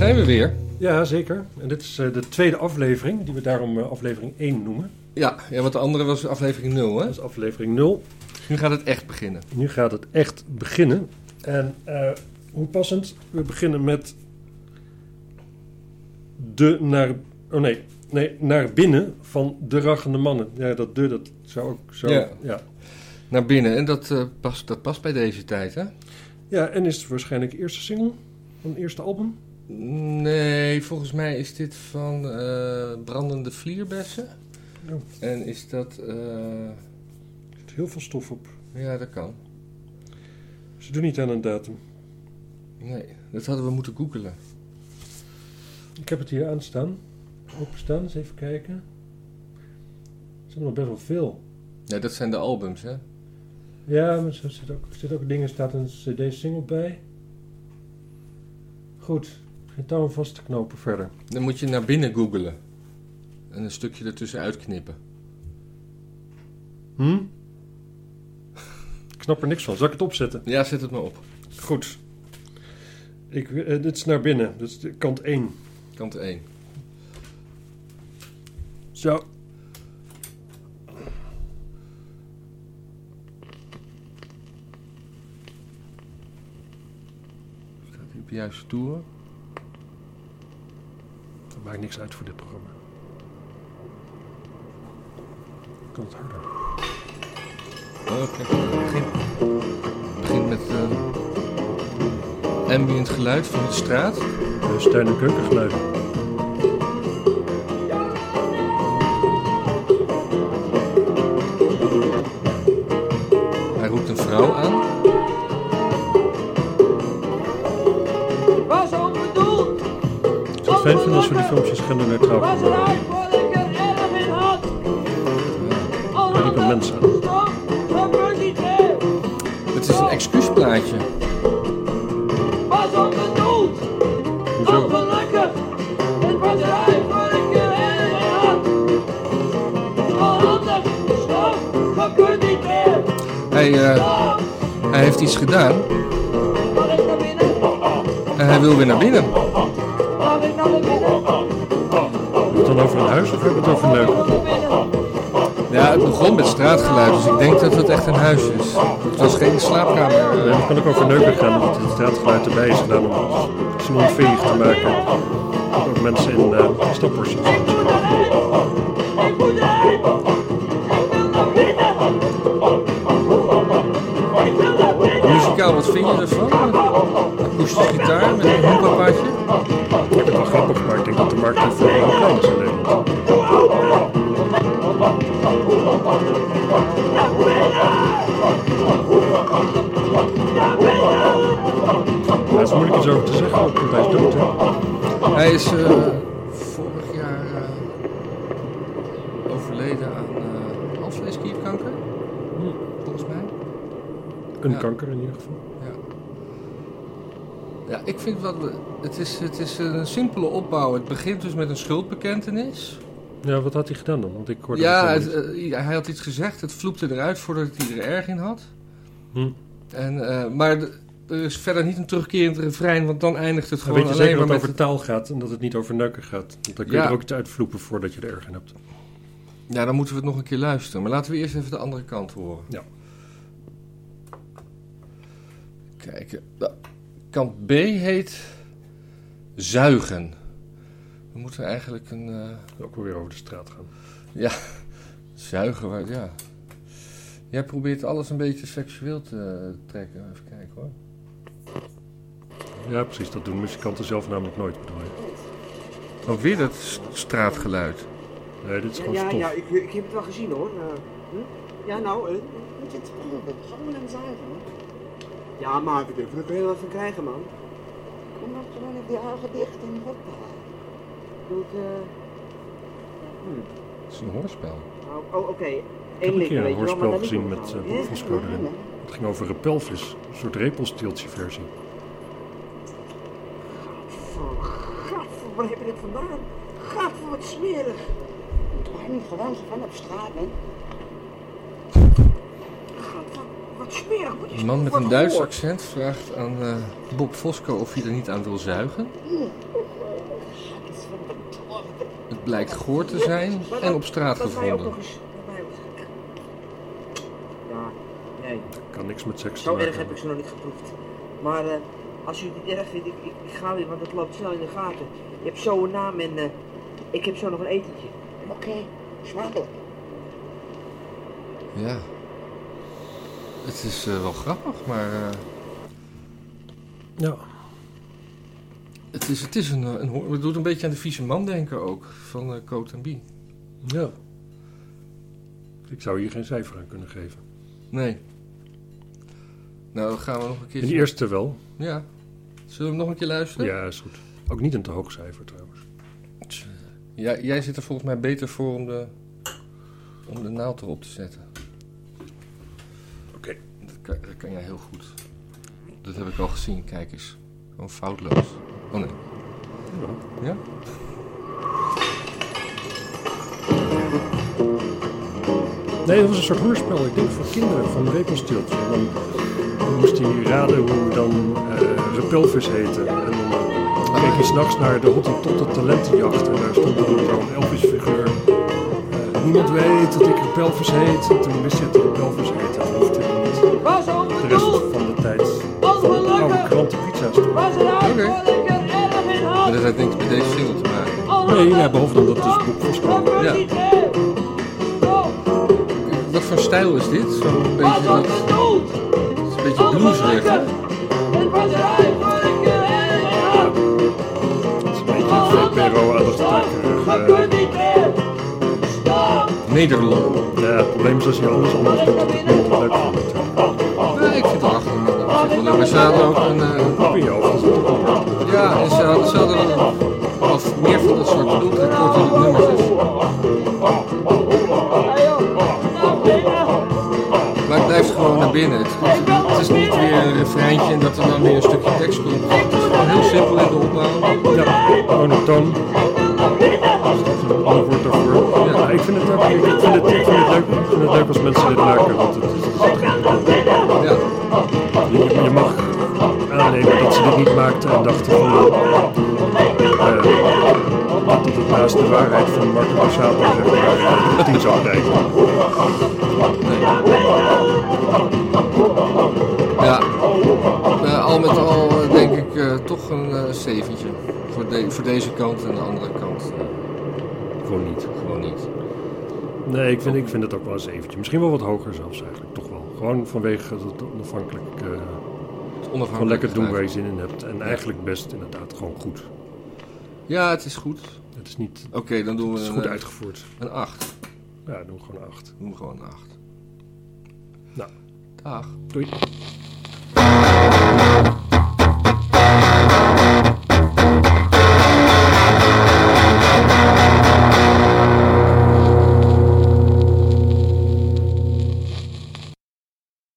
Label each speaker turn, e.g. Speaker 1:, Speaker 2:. Speaker 1: er weer.
Speaker 2: Ja, zeker. En dit is eh, de tweede aflevering, die we daarom eh, aflevering 1 noemen.
Speaker 1: Ja, ja, want de andere was aflevering 0, hè?
Speaker 2: Dat is aflevering 0.
Speaker 1: Nu gaat het echt beginnen.
Speaker 2: Nu gaat het echt beginnen. En eh, hoe passend, we beginnen met de naar... Oh nee, nee, naar binnen van de rachende mannen. Ja, dat de, dat zou ook zo...
Speaker 1: Ja.
Speaker 2: ja.
Speaker 1: Naar binnen. En dat, eh, past, dat past bij deze tijd, hè?
Speaker 2: Ja, en is het waarschijnlijk eerste single van het eerste album.
Speaker 1: Nee, volgens mij is dit van eh, Brandende Vlierbessen.
Speaker 2: Oh.
Speaker 1: En is dat... eh,
Speaker 2: Er zit heel veel stof op.
Speaker 1: ja, dat kan.
Speaker 2: Ze doen niet aan een datum.
Speaker 1: Nee, dat hadden we moeten googelen.
Speaker 2: Ik heb het hier aanstaan. Openstaan, eens even kijken. Er zijn nog best wel veel.
Speaker 1: Ja, dat zijn de albums, hè?
Speaker 2: Ja, maar er zit ook, zit ook dingen, staat een cd-single bij. Goed, geen touw om vast te knopen verder.
Speaker 1: Dan moet je naar binnen googelen. En een stukje ertussen uitknippen.
Speaker 2: Hm? Ik snap er niks van, zal ik het opzetten?
Speaker 1: Ja, zet het maar op.
Speaker 2: Goed. Ik, wi- eh, dit is naar binnen, dit is de kant 1.
Speaker 1: Kant 1.
Speaker 2: Zo.
Speaker 1: Staat hier op de juiste toer?
Speaker 2: Dat maakt niks uit voor dit programma. Kan het harder.
Speaker 1: Oh, oké. Het begint, het begint met eh ambient geluid van de straat.
Speaker 2: De steun- en keukengeluiden.
Speaker 1: Hij roept een vrouw aan.
Speaker 3: Was onbedoeld.
Speaker 2: Ik zou het fijn vinden als we die filmpjes genderneutraal
Speaker 3: Was
Speaker 2: konden maken.
Speaker 3: eruit voordat ik er erg in had. Al
Speaker 2: Daar liepen
Speaker 3: had
Speaker 2: mensen.
Speaker 3: ik stop, dan was niet meer.
Speaker 1: Het is een excuusplaatje.
Speaker 3: Was onbedoeld.
Speaker 2: Hoezo?
Speaker 3: Ongelukkig. Het was eruit voordat ik er erg in had. Al had ik stop, dan kon niet meer.
Speaker 1: Hij, eh,
Speaker 3: Stop,
Speaker 1: hij heeft iets gedaan
Speaker 3: Mag ik naar binnen?
Speaker 1: en hij wil weer naar binnen.
Speaker 3: Mag ik naar binnen?
Speaker 2: Hebben we het dan over een huis of hebben we het over
Speaker 3: Mag ik
Speaker 2: neuken?
Speaker 3: naar binnen?
Speaker 1: Ja, het begon met straatgeluid, dus ik denk dat het echt een huis is. Het was geen slaapkamer.
Speaker 2: Nee, maar het kan ook over neuken gaan, omdat het straatgeluid erbij is gedaan om het snoerveeg te maken. Dat ook mensen in eh stappers zitten.
Speaker 3: Ik moet eruit. Ik moet eruit. Ik wil naar binnen. Ik wil naar binnen.
Speaker 1: Muzikaal, wat vind je ervan? Akoestische gitaar met een hoepapaatje.
Speaker 2: Ik vind het wel grappig, maar ik denk dat de markt ervoor wel klein is in Nederland. Ja, het is moeilijk iets over te zeggen, ook, want hij is dood. Hè?
Speaker 1: Hij is eh, vorig jaar eh, overleden aan eh alvleesklierkanker, volgens mij.
Speaker 2: Een
Speaker 1: Ja.
Speaker 2: kanker in ieder geval.
Speaker 1: Ja. Ja, ik vind dat we- het is, het is een simpele opbouw. Het begint dus met een schuldbekentenis.
Speaker 2: Ja, wat had hij gedaan dan? Want ik hoorde
Speaker 1: Ja,
Speaker 2: het
Speaker 1: het,
Speaker 2: helemaal
Speaker 1: eh, hij had iets gezegd. Het vloepte eruit voordat hij er erg in had.
Speaker 2: niet.
Speaker 1: En, eh, maar d- er is verder niet een terugkerend refrein, want dan eindigt het
Speaker 2: Hm.
Speaker 1: gewoon
Speaker 2: Weet je
Speaker 1: alleen
Speaker 2: zeker dat
Speaker 1: maar
Speaker 2: het
Speaker 1: met...
Speaker 2: over taal gaat en dat het niet over neuken gaat? Want dan kun je
Speaker 1: Ja.
Speaker 2: er ook iets uitvloepen voordat je er erg in hebt.
Speaker 1: het- Ja, dan moeten we het nog een keer luisteren. Maar laten we eerst even de andere kant horen.
Speaker 2: Ja.
Speaker 1: Kijken. Nou, Kant B heet zuigen. We moeten eigenlijk een... eh,
Speaker 2: Ook wel weer over de straat gaan.
Speaker 1: Zuigen, waar- ja. Jij probeert alles een beetje seksueel te eh, trekken. Even kijken hoor.
Speaker 2: Ja, precies. Dat doen muzikanten zelf namelijk nooit, bedoel je.
Speaker 1: Oh, weer dat s- straatgeluid.
Speaker 2: Nee, dit is
Speaker 4: Ja,
Speaker 2: gewoon
Speaker 4: ja,
Speaker 2: stof.
Speaker 4: ja ik, ik heb het wel gezien hoor. Eh, hm? Ja, nou, eh, moet je het
Speaker 5: Gewoon en zuigen. hoor.
Speaker 4: Ja, maar we durven er heel wat van krijgen, man.
Speaker 5: Kom maar gewoon op die ogen dicht en hoppa.
Speaker 4: Ik bedoel, eh,
Speaker 1: Het is een hoorspel.
Speaker 4: oh, oh, oké.
Speaker 2: heb
Speaker 4: Eén
Speaker 2: een
Speaker 4: link,
Speaker 2: keer een
Speaker 4: weet je wel, maar
Speaker 2: hoorspel
Speaker 4: dat
Speaker 2: gezien met eh, Bob van Schröder in. Het ging over repelvis, een soort repelsteeltje versie.
Speaker 4: Oh, Gadver, waar heb je dit vandaan? Gadver, wat smerig.
Speaker 5: Toch niet gewoon zo van op straat, hè?
Speaker 4: Gadver, wat smerig. Wat is
Speaker 1: Een man met
Speaker 4: wat
Speaker 1: een Duits
Speaker 4: goor.
Speaker 1: accent vraagt aan eh, Bob Fosco of hij er niet aan wil zuigen.
Speaker 5: Hier, oeh,
Speaker 1: blijkt gehoord te zijn
Speaker 4: Maar
Speaker 1: en
Speaker 4: dat-
Speaker 1: op straat
Speaker 4: dat hij ook
Speaker 1: gevonden.
Speaker 4: nog eens bij mij was. Ja, nee.
Speaker 2: Kan niks met seks te
Speaker 4: Zo
Speaker 2: maken
Speaker 4: erg heb ik
Speaker 2: hebben.
Speaker 4: ze nog niet geproefd. Maar eh, als u het niet erg vindt, ik, ik, ik ga weer, want het loopt snel in de gaten. Je hebt zo een naam en eh, ik heb zo nog een etentje.
Speaker 5: Oké, smakelijk.
Speaker 1: Ja. Het is eh, wel grappig, maar eh,
Speaker 2: Ja,
Speaker 1: het, is, het is een, eh, een hoor. Het doet een beetje aan de vieze man denken ook, van eh Coat en Bie.
Speaker 2: ja. Ik zou hier geen cijfer aan kunnen geven.
Speaker 1: Nee. Nou, dan gaan we nog een
Speaker 2: In de
Speaker 1: keer.
Speaker 2: eerste wel.
Speaker 1: Ja. Zullen we hem nog een keer luisteren?
Speaker 2: Ja, is goed. Ook niet een te hoog cijfer trouwens.
Speaker 1: Ja, jij zit er volgens mij beter voor om de, om de naald erop te zetten.
Speaker 2: Oké.
Speaker 1: Dat kan, dat kan jij heel goed. Dat heb ik al gezien, kijk eens. Gewoon foutloos. Oh nee. Ja?
Speaker 2: Nee, dat was een soort hoorspel. Ik denk voor kinderen van Repelstilt. En Dan dan moest hij raden hoe dan eh repelvis heette. En dan keek hij s'nachts naar de Hottentotten talentenjacht. En daar stond dan zo'n Elvis figuur. Eh, niemand weet dat ik repelvis heet. En toen wist hij dat hij repelvis heette. En hoefde hij niet
Speaker 3: Was
Speaker 2: de rest
Speaker 3: onbedoeld,
Speaker 2: van de tijd van oude
Speaker 3: ongelukkig.
Speaker 2: krantenpizza's te
Speaker 3: Was het
Speaker 1: Oké.
Speaker 3: eigenlijk erg in
Speaker 1: Maar
Speaker 3: had?
Speaker 1: dat heeft niks met deze single te maken.
Speaker 2: Nee, ja, behalve dan dat het dus boek was.
Speaker 1: Ja. Wat voor stijl is dit? Zo'n beetje,
Speaker 3: Was
Speaker 1: dat,
Speaker 3: onbedoeld,
Speaker 1: is een beetje bluesig, hè?
Speaker 3: Het was er eigenlijk erg in had.
Speaker 2: Het is een
Speaker 3: Oh,
Speaker 2: beetje een VPRO-aandachtstrekkerig.
Speaker 1: Nederland.
Speaker 2: Ja, het probleem is als je alles
Speaker 3: Oh.
Speaker 2: anders doet, dat het niet leuk vindt.
Speaker 1: Ja, ik vind het achter me. Maar ze hadden ook een... eh,
Speaker 2: Op in je hoofd.
Speaker 1: ja, en ze hadden, ze hadden wel wat meer van dat soort ultrakorte nummertjes. Maar het blijft gewoon naar binnen. Het, het- het is niet weer een refreintje en dat er dan weer een stukje tekst komt. Het is gewoon heel simpel in de opbouw.
Speaker 2: Ja, monotoon. Ander woord daarvoor. Ja, nou, ik vind het ook. Ik vind het, ik vind het, leuk, ik vind het leuk als mensen dit maken. Want het is,
Speaker 1: Ja,
Speaker 2: je, je mag aannemen dat ze dit niet maakten en dachten van. eh, dat het naast de waarheid van Marco Borsato zeg maar, eh, niet zou blijven.
Speaker 1: ja. Eh, al met al eh, denk ik eh, toch een eh, zeventje. Voor, de, voor deze kant en de andere kant eh,
Speaker 2: Gewoon niet.
Speaker 1: gewoon niet.
Speaker 2: Nee, ik vind, ik vind het ook wel eens eventjes. Misschien wel wat hoger zelfs eigenlijk, toch wel. Gewoon vanwege het onafhankelijk. eh,
Speaker 1: Het
Speaker 2: Gewoon
Speaker 1: onafhankelijk
Speaker 2: lekker doen waar je
Speaker 1: geluid.
Speaker 2: zin in hebt. En eigenlijk best inderdaad gewoon goed.
Speaker 1: Ja, het is goed.
Speaker 2: Het is niet
Speaker 1: Oké, dan doen we
Speaker 2: het is
Speaker 1: een,
Speaker 2: goed
Speaker 1: eh,
Speaker 2: uitgevoerd.
Speaker 1: een 8.
Speaker 2: Ja, doen we gewoon acht.
Speaker 1: Doen we gewoon een 8.
Speaker 2: Nou.
Speaker 1: Dag.
Speaker 2: Doei.